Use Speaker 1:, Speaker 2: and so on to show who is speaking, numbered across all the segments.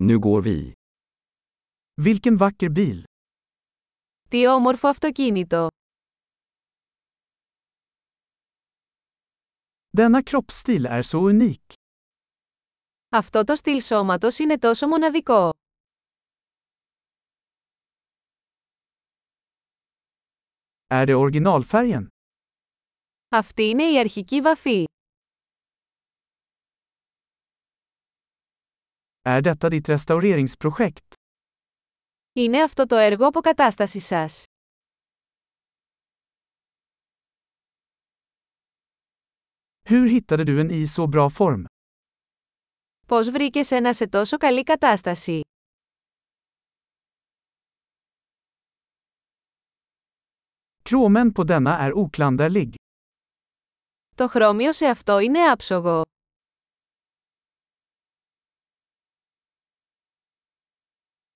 Speaker 1: Nu går vi.
Speaker 2: Vilken vacker bil!
Speaker 3: Τι όμορφο αυτοκίνητο!
Speaker 2: Denna kroppsstil är så unik.
Speaker 3: Αυτό το στυλ σώματος είναι τόσο μοναδικό.
Speaker 2: Är det originalfärgen?
Speaker 3: Αυτή είναι η αρχική βαφή.
Speaker 2: Är detta ditt restaureringsprojekt?
Speaker 3: Είναι αυτό το έργο αποκατάστασης σας.
Speaker 2: Hur hittade du en i så bra form?
Speaker 3: Πώς βρήκες ένα σε τόσο καλή κατάσταση.
Speaker 2: Kromen på denna är oklanderlig.
Speaker 3: Το χρώμιο σε αυτό είναι άψογο.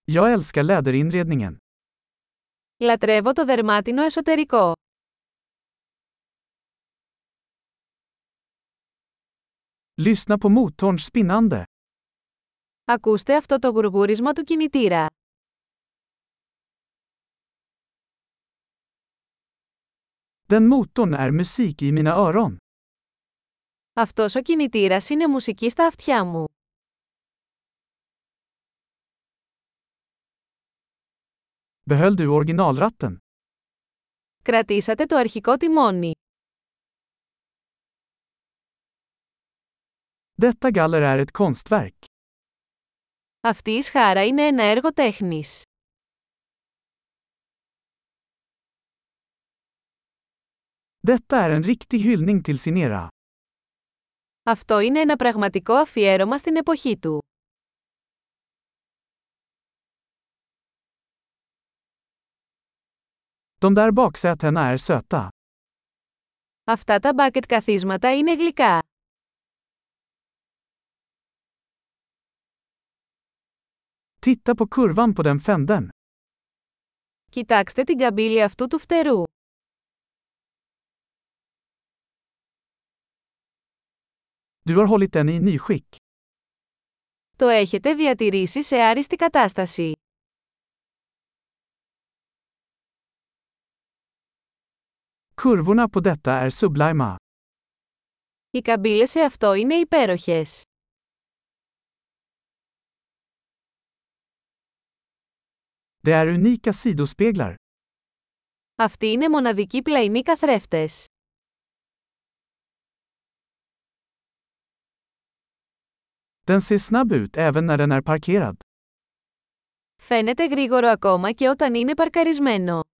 Speaker 2: Jag älskar läderinredningen.
Speaker 3: Λατρεύω το δερμάτινο εσωτερικό.
Speaker 2: Lyssna på motorns spinnande.
Speaker 3: Ακούστε αυτό το γουργούρισμα του κινητήρα.
Speaker 2: Den motorn är musik i mina öron.
Speaker 3: Αυτός ο κινητήρας είναι μουσική στα αυτιά μου.
Speaker 2: Behöll du originalratten?
Speaker 3: Κρατήσατε το αρχικό τιμόνι.
Speaker 2: Detta galler är ett konstverk.
Speaker 3: Αυτή η σχάρα είναι ένα έργο τέχνης.
Speaker 2: Detta är en riktig hyllning till sin era.
Speaker 3: Αυτό είναι ένα πραγματικό αφιέρωμα στην εποχή του.
Speaker 2: De där baksätena är söta.
Speaker 3: Αυτά τα μπάκετ καθίσματα είναι γλυκά.
Speaker 2: Titta på kurvan på den fänden.
Speaker 3: Κοιτάξτε την καμπύλη αυτού του φτερού.
Speaker 2: Du har hållit den i nyskick.
Speaker 3: Το έχετε διατηρήσει σε άριστη κατάσταση.
Speaker 2: Kurvorna på detta är sublima.
Speaker 3: Οι καμπύλες σε αυτό είναι υπέροχες.
Speaker 2: Det är unika sidospeglar.
Speaker 3: Αυτοί είναι μοναδικοί πλαϊνοί καθρέφτες.
Speaker 2: Den ser snabb ut även när den är parkerad.
Speaker 3: Φαίνεται γρήγορο ακόμα και όταν είναι παρκαρισμένο.